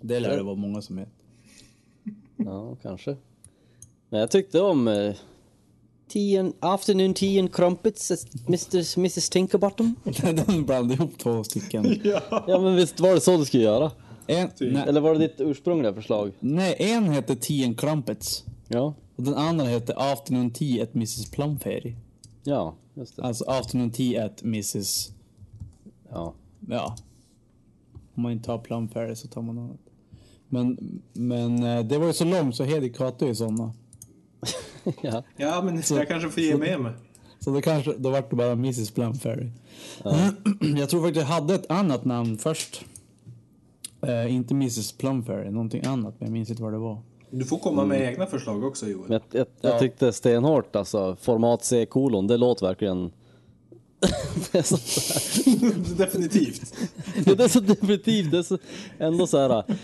Det lär det vara många som heter.
Ja, kanske. Men jag tyckte om eh,
Tea and, afternoon tea and crumpets, as Mr. Mrs Tinkerbottom.
Den blandade ihop två stycken.
Ja men visst var det så du skulle göra?
En, nej,
Eller var det ditt ursprungliga förslag?
nej, en hette Tien Crumpets.
Ja.
Och den andra hette Afternoon Tea at Mrs Plum Fairy.
Ja, just det.
Alltså Afternoon Tea at Mrs...
Ja.
Ja. Om man inte tar Plum Fairy så tar man något annat. Men, men eh, det var ju så långt så Hedvig hatade ju sådana.
ja.
Ja, men jag kanske får ge mig med mig.
Så det kanske, då vart det bara Mrs Plum Fairy. Jag tror faktiskt jag hade ett annat namn först. Eh, inte Mrs Plum Fairy, någonting annat. Men jag minns inte vad det var.
Du får komma med egna förslag också Joel.
Men jag, jag, jag tyckte stenhårt alltså. Format C kolon, det låter verkligen... det, är så,
Definitivt.
det är så definitivt. Det är så, ändå så här. äh,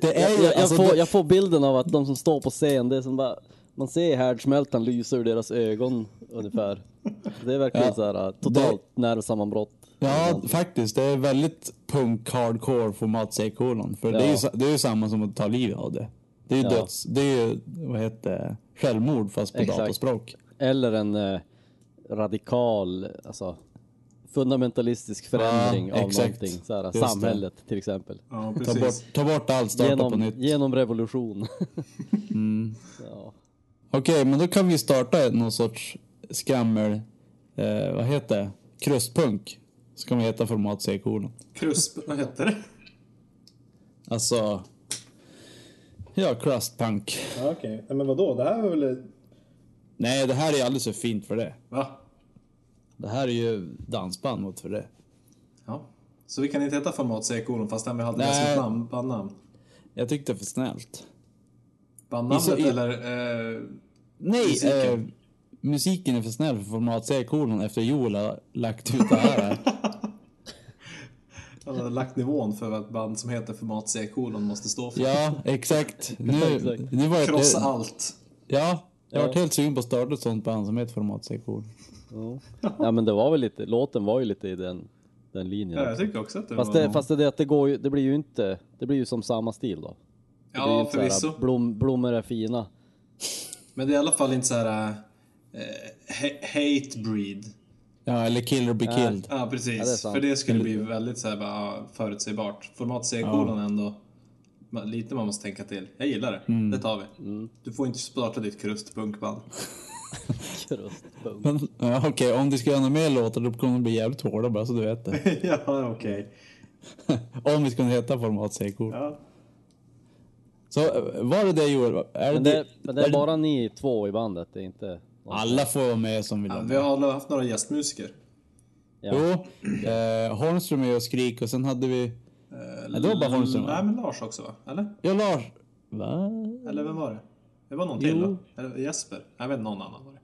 Det är
Jag,
ju,
jag, jag,
alltså,
får,
det-
jag får bilden av att de som står på scen, det är som bara... Man ser härdsmältan lysa ur deras ögon ungefär. Det är verkligen
Ja.
så här äh, totalt nervsammanbrott.
Ja, faktiskt. Det är väldigt punk-hardcore format C-kolon. För det, är ju,
Ja.
sa- det är ju samma som att ta livet av det. Det är ju
Ja.
döds... Det är ju, vad heter det, självmord fast på
Exakt.
datorspråk.
Eller en eh, radikal, alltså fundamentalistisk förändring
Ja,
av
exakt.
någonting. Så här,
Just
samhället till exempel.
Ja,
Ta bort,
precis.
ta bort allt, starta på
Genom,
nytt.
genom revolution. ja.
Okej, men då kan vi starta någon sorts skammel... Eh, vad heter det? Krustpunk. Så kan vi heta format C-kolon.
Krusp... Vad heter det?
Alltså... Ja, crustpunk.
Ja, Okej, Nej, men vadå? Det här var väl...
Nej, det här är alldeles för fint för det.
Va?
Det här är ju dansband mot för det.
Ja. Så vi kan inte heta Format C kolon fastän vi hade det
Nej.
som namn, bandnamn.
Jag tyckte det är för snällt.
Bandnamnet
I så- i-
eller... Eh,
Nej, musiken,
Musiken.
eh, musiken är för snäll för format C-kolon efter Joel har lagt ut det här.
han hade lagt nivån för vad ett band som heter Format C kolon måste stå för.
ja, exakt. Nu,
Exakt.
nu var jag,
Krossa
det,
allt.
ja, jag har varit helt sugen på att starta ett sånt band som heter format C-kolon.
ja men det var väl lite, låten var ju lite i den, den linjen.
Ja, jag tycker också att det
Fast
var...
det, fast det, är det, att det, går ju, det blir ju inte, det blir ju som samma stil då. Det blir ju
ja,
inte så här,
förvisso.
Blom, blommor är fina.
Men det är i alla fall inte så här... Eh, he- hate breed.
Ja, eller Kill or Be Killed.
Ja, precis.
Ja, det är sant.
För det skulle bli väldigt så här, bara, ja, förutsägbart. Format C-kolon ändå. ma- Lite man måste tänka till. Jag gillar det.
Mm.
Det tar vi. Du får inte starta ditt krustpunkband.
Krustpunkt.
Men, ja, Okej, om du ska göra några mer låtar då kommer de bli jävligt hårda bara så du vet det.
ja, okej.
om vi ska heta format C-kolon.
Ja.
Så eh, var det det Joel? Är
Men
det,
det, men det
är
är
det-
bara ni två i bandet, det är inte...
Alla får vara med som vill vara
Ja,
med.
vi har haft några gästmusiker.
Jo, eh, Holmström är med och Skrik och sen hade vi... Nej, det var bara Holmström va?
Mm, Nej, men Lars också va? Eller?
Ja, Lars. Va?
Eller vem var det? Det var någon till va? Eller Jesper? Jag vet inte, någon annan var det.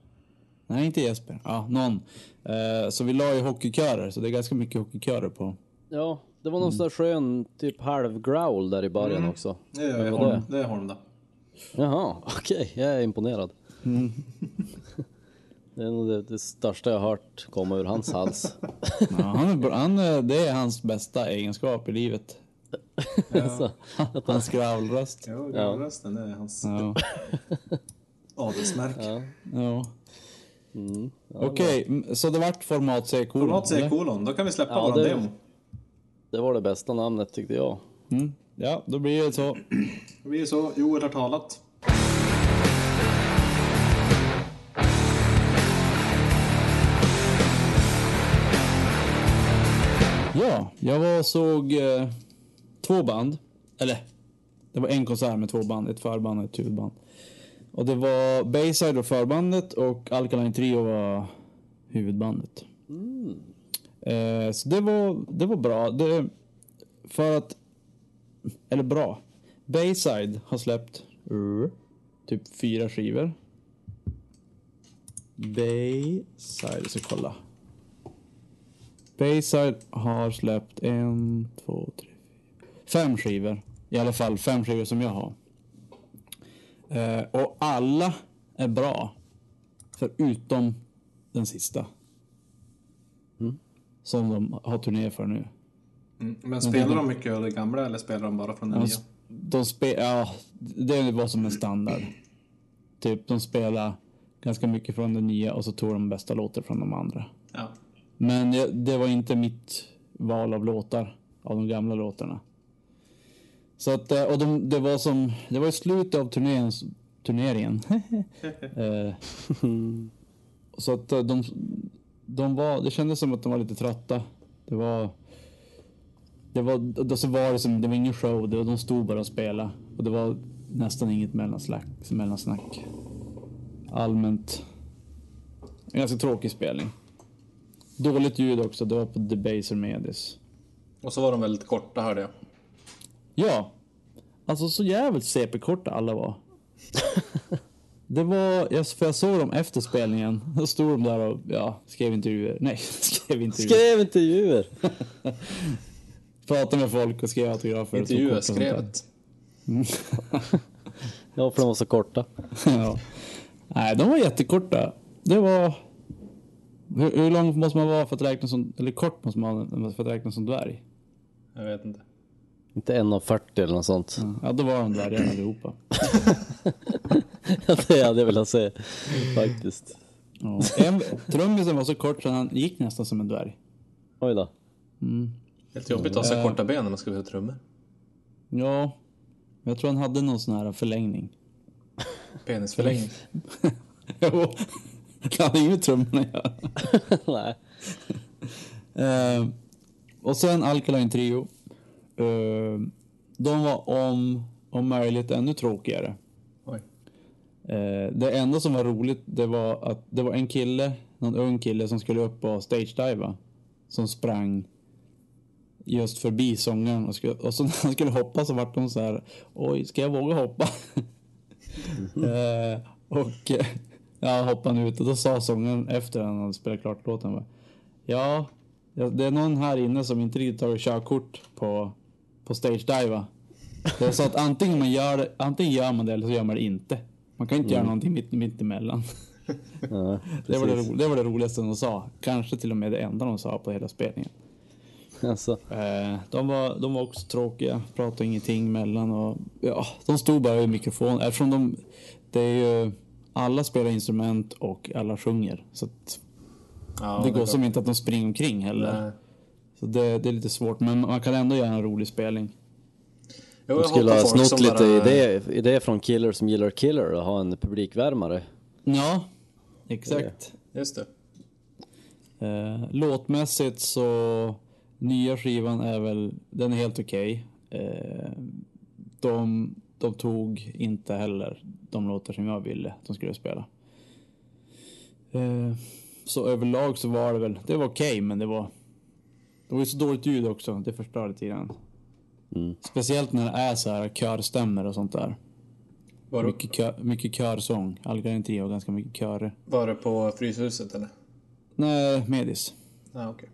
Nej, inte Jesper. Ja, någon. Eh, så vi la ju hockeykörer, så det är ganska mycket hockeykörer på.
Ja, det var någon sån där skön typ halv-growl där i början också.
Det är,
Vem var
Holm, det är Holm då.
Jaha, okej, jag är imponerad.
Mm.
det är nog det, det största jag har hört komma ur hans hals.
Ja, han är, bra- han, är- det är hans bästa egenskap i livet.
Så,
Hans growlröst.
Jo, Alltså, ja. rösten det är hans
Ja.
adelsmärke.
Ja. Okej, m- så det vart format C kolon?
Mm. Format säger
eller?
kolon, då kan vi släppa
Ja,
våran
det-
demo.
det var det bästa namnet tyckte jag.
Ja, då blir det så.
Det blir så, Joel har talat.
Ja, jag var och såg eh, två band. Eller, det var en konsert med två band. Ett förband och ett huvudband. Och det var Bayside och förbandet och Alkaline Trio var huvudbandet. Eh, så det var, det var bra. Det, för att... Eller bra. Bayside har släppt eh, typ fyra skivor. Bayside, jag ska kolla. Bayside har släppt en, två, tre, fyra. Fem skivor. I alla fall fem skivor som jag har. Eh, och alla är bra. Förutom den sista. Som de har turné för nu.
Men spelar de mycket av det gamla eller spelar de bara från det
De,
nya?
sp- de spe- ja, det är vad som är standard. Typ de spelar ganska mycket från den nya och så tog de bästa låtar från de andra.
Ja.
Men jag, det var inte mitt val av låtar, av de gamla låtarna. Så att, eh, och de, det var som, det var i slutet av turnén, turneringen. Eh, så att eh, de, de var, det kändes som att de var lite trötta. Det var, det var, och så var det som, det var ingen show, det var, de stod bara och spelade. Och det var nästan inget mellanslack, mellansnack. Allmänt, en ganska tråkig spelning. Dåligt ljud också, det var på Debaser Medis.
Och så var de väldigt korta hörde jag.
Ja. Alltså så jävligt CP-korta alla var. Det var, jag, för jag såg dem efter spelningen. Då stod de där och ja, skrev intervjuer. Nej, skrev intervjuer.
Skrev intervjuer!
Pratade med folk och skrev autografer. och tog kort
Intervjuer
och sånt där.
skrevet.
Ja, för de var så korta.
ja. Nej, de var jättekorta. Det var... Hur, hur lång måste man vara för att räknas som... Eller kort måste man vara för att räknas som dvärg?
Jag vet inte.
Inte 1,40 eller något sånt.
Mm.
Ja, då var de dvärgar allihopa.
det hade jag velat se faktiskt.
Ja. En, trummisen var så kort så han gick nästan som en dvärg.
Oj då.
Helt jobbigt att ha så korta ben när man ska spela trummor.
Ja, jag tror han hade någon sån här förlängning.
Penisförlängning.
Jo, det hade inget med trummorna att göra.
Nej.
Eh, och sen Alkaline Trio. Eh, de var om, om möjligt ännu tråkigare.
Oj.
Eh, det enda som var roligt det var att det var en kille, någon ung kille som skulle upp och stage-diva. Som sprang just förbi sångaren och, skulle, och så när han skulle hoppa så vart hon så här. Oj, ska jag våga hoppa? eh, och eh, ja, hoppade han ut och då sa sångaren efter han hade spelat klart låten. Bara, ja, ja, det är någon här inne som inte riktigt tagit körkort på, på stage-diva. Det är så att antingen, man gör, det- antingen gör man det eller så gör man det inte. Man kan inte
Mm.
göra någonting mitt, mitt emellan. det, var det, ro- det var det roligaste de sa. Kanske till och med det enda de sa på hela spelningen.
Alltså,
Eh, de, var, de var också tråkiga, pratade ingenting emellan. Och, ja, de stod bara i mikrofon. Eftersom de, det är ju, alla spelar instrument och alla sjunger. Så att
Ja,
det går
är Eh,
som
klart.
inte att de springer omkring heller.
Nej.
Så det, det är lite svårt, men man kan ändå göra en rolig spelning.
Jo,
de
jag
skulle ha
hatar folk som
snott lite
bara-
idé, idé från Killer som gillar Killer och ha en publikvärmare.
Ja, exakt.
Just det.
Eh, låtmässigt så nya skivan är väl, den är helt okej. Eh, de de tog inte heller de låtar som jag ville att de skulle spela. Eh, så överlag så var det väl, det var okej men det var det var ju så dåligt ljud också, det förstör lite grann.
Mm.
Speciellt när det är så här körstämmer och sånt där.
Var, du,
Mycket, kö, mycket körsång. Algarin Trio har ganska mycket körer.
var det på Fryshuset eller?
Nej, Medis.
Ja, okej.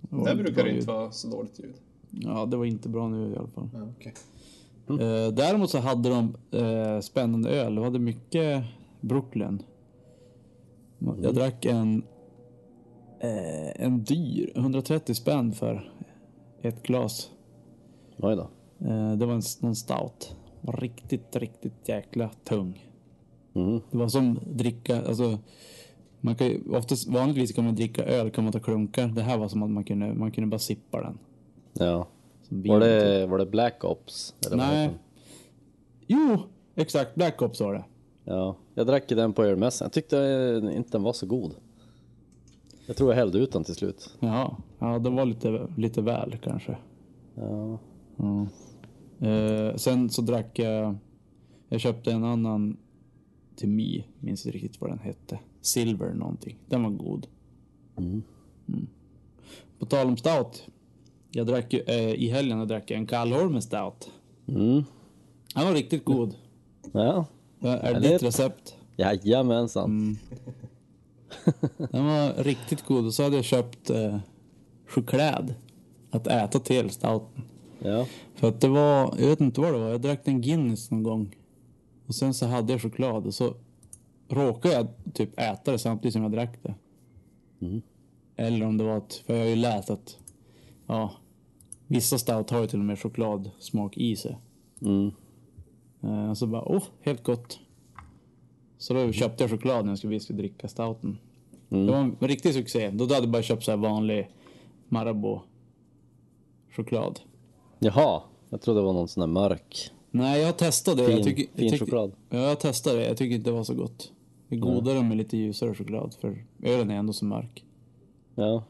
Det var
Där brukar
bra
det
ljud.
inte vara så dåligt ljud.
Ja, det var inte bra nu i alla fall.
Ja, okej.
Mm.
Eh, däremot så hade de eh, spännande öl. De hade mycket Brooklyn.
Mm.
Jag drack en, eh, en dyr, 130 spänn för ett glas.
Oj då.
Eh, det var en, någon stout. Var riktigt, riktigt jäkla tung.
Mm.
Det var som dricka, alltså. Man kan ju, oftast, vanligtvis kan man dricka öl, kan man ta klunkar. Det här var som att man kunde, man kunde bara sippa den.
Ja.
Som vin,
Var det, var det Black Ops? Eller vad
Nej.
heter den?
Jo, exakt. Black Ops var det.
Ja. Jag drack ju den på ölmässan. Jag tyckte eh, inte den var så god. Jag tror jag hällde ut den till slut.
Ja, ja det var lite, lite väl kanske.
Ja.
Eh, sen så drack jag... Jag köpte en annan till Mi. Minns inte riktigt vad den hette. Silver någonting. Den var god. Mm. På tal om stout. Jag drack ju, eh, I helgen jag drack jag en Kallholmen stout.
Mm.
Den var riktigt god.
Ja.
Eh, Är det
Härligt.
ditt recept?
Jajamensan.
Mm. Den var riktigt god. Och så hade jag köpt eh, choklad att äta till stouten.
Ja.
För att det var, jag vet inte vad det var, jag drack en Guinness någon gång. Och sen så hade jag choklad och så råkade jag typ äta det samtidigt som jag drack det. Eller om det var att, för jag har ju läst att, ja, vissa stout har ju till och med chokladsmak i sig. Eh, och så bara, åh, helt gott. Så då köpte jag choklad när jag skulle, vi skulle dricka stouten. Det var en riktig succé. Då hade jag bara köpt så här vanlig Marabou-choklad.
Jaha. Jag trodde det var någon sån där mörk.
Nej, jag testade.
Fin-
jag tycker,
fin
jag tycker,
choklad.
Ja, jag testade. Jag tycker inte det var så gott. Det är godare med lite ljusare choklad för ölen är ändå så mörk.
Ja. Mm.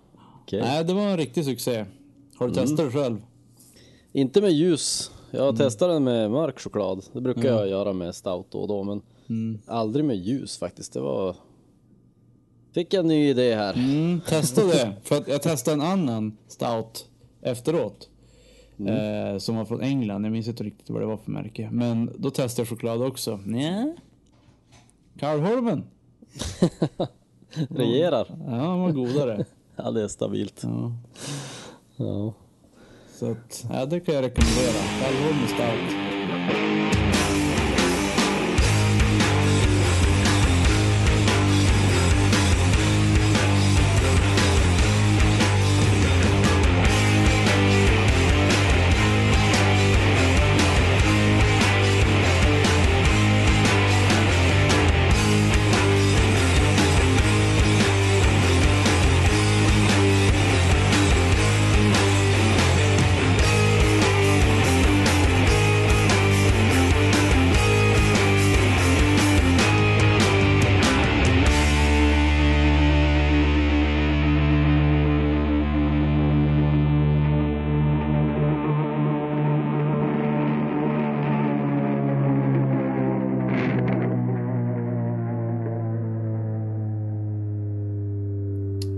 Okej.
Nej, det var en riktig succé. Har du testat det själv?
Inte med ljus. Jag
Mm.
testar den med mörk choklad. Det brukar jag göra med stout då och då, men
Mm.
aldrig med ljus faktiskt. Det var... Fick jag en ny idé här.
Mm, testa det. för att jag testade en annan stout efteråt.
Mm.
Eh, som var från England. Jag minns inte riktigt vad det var för märke. Men då testade jag choklad också. Nja. Karlholmen.
Regerar.
Ja, den var godare.
Ja, det är stabilt.
Ja.
Ja.
Så att, ja, det kan jag rekommendera. Karlholmen stout.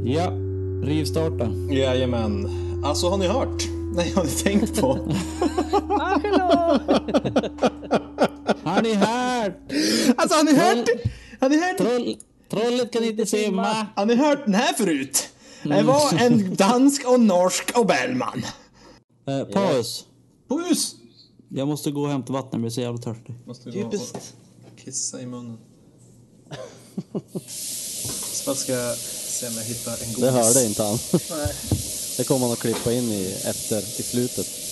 Ja, rivstarta.
Jajamän. Alltså har ni hört? Nej, har ni tänkt på?
Har ni hört?
alltså har ni hört? Har ni hört?
Troll, trollet kan inte Mm. simma.
Har ni hört den här förut? Det var en dansk och norsk och Bellman.
Eh, paus.
Puss!
Jag måste gå och hämta vatten, jag blir så jävla törstig.
Måste gå och kissa i munnen. Så ska jag se om jag hittar en god...
Det hörde inte han.
Nej.
Det kommer han att klippa in i efter, i slutet.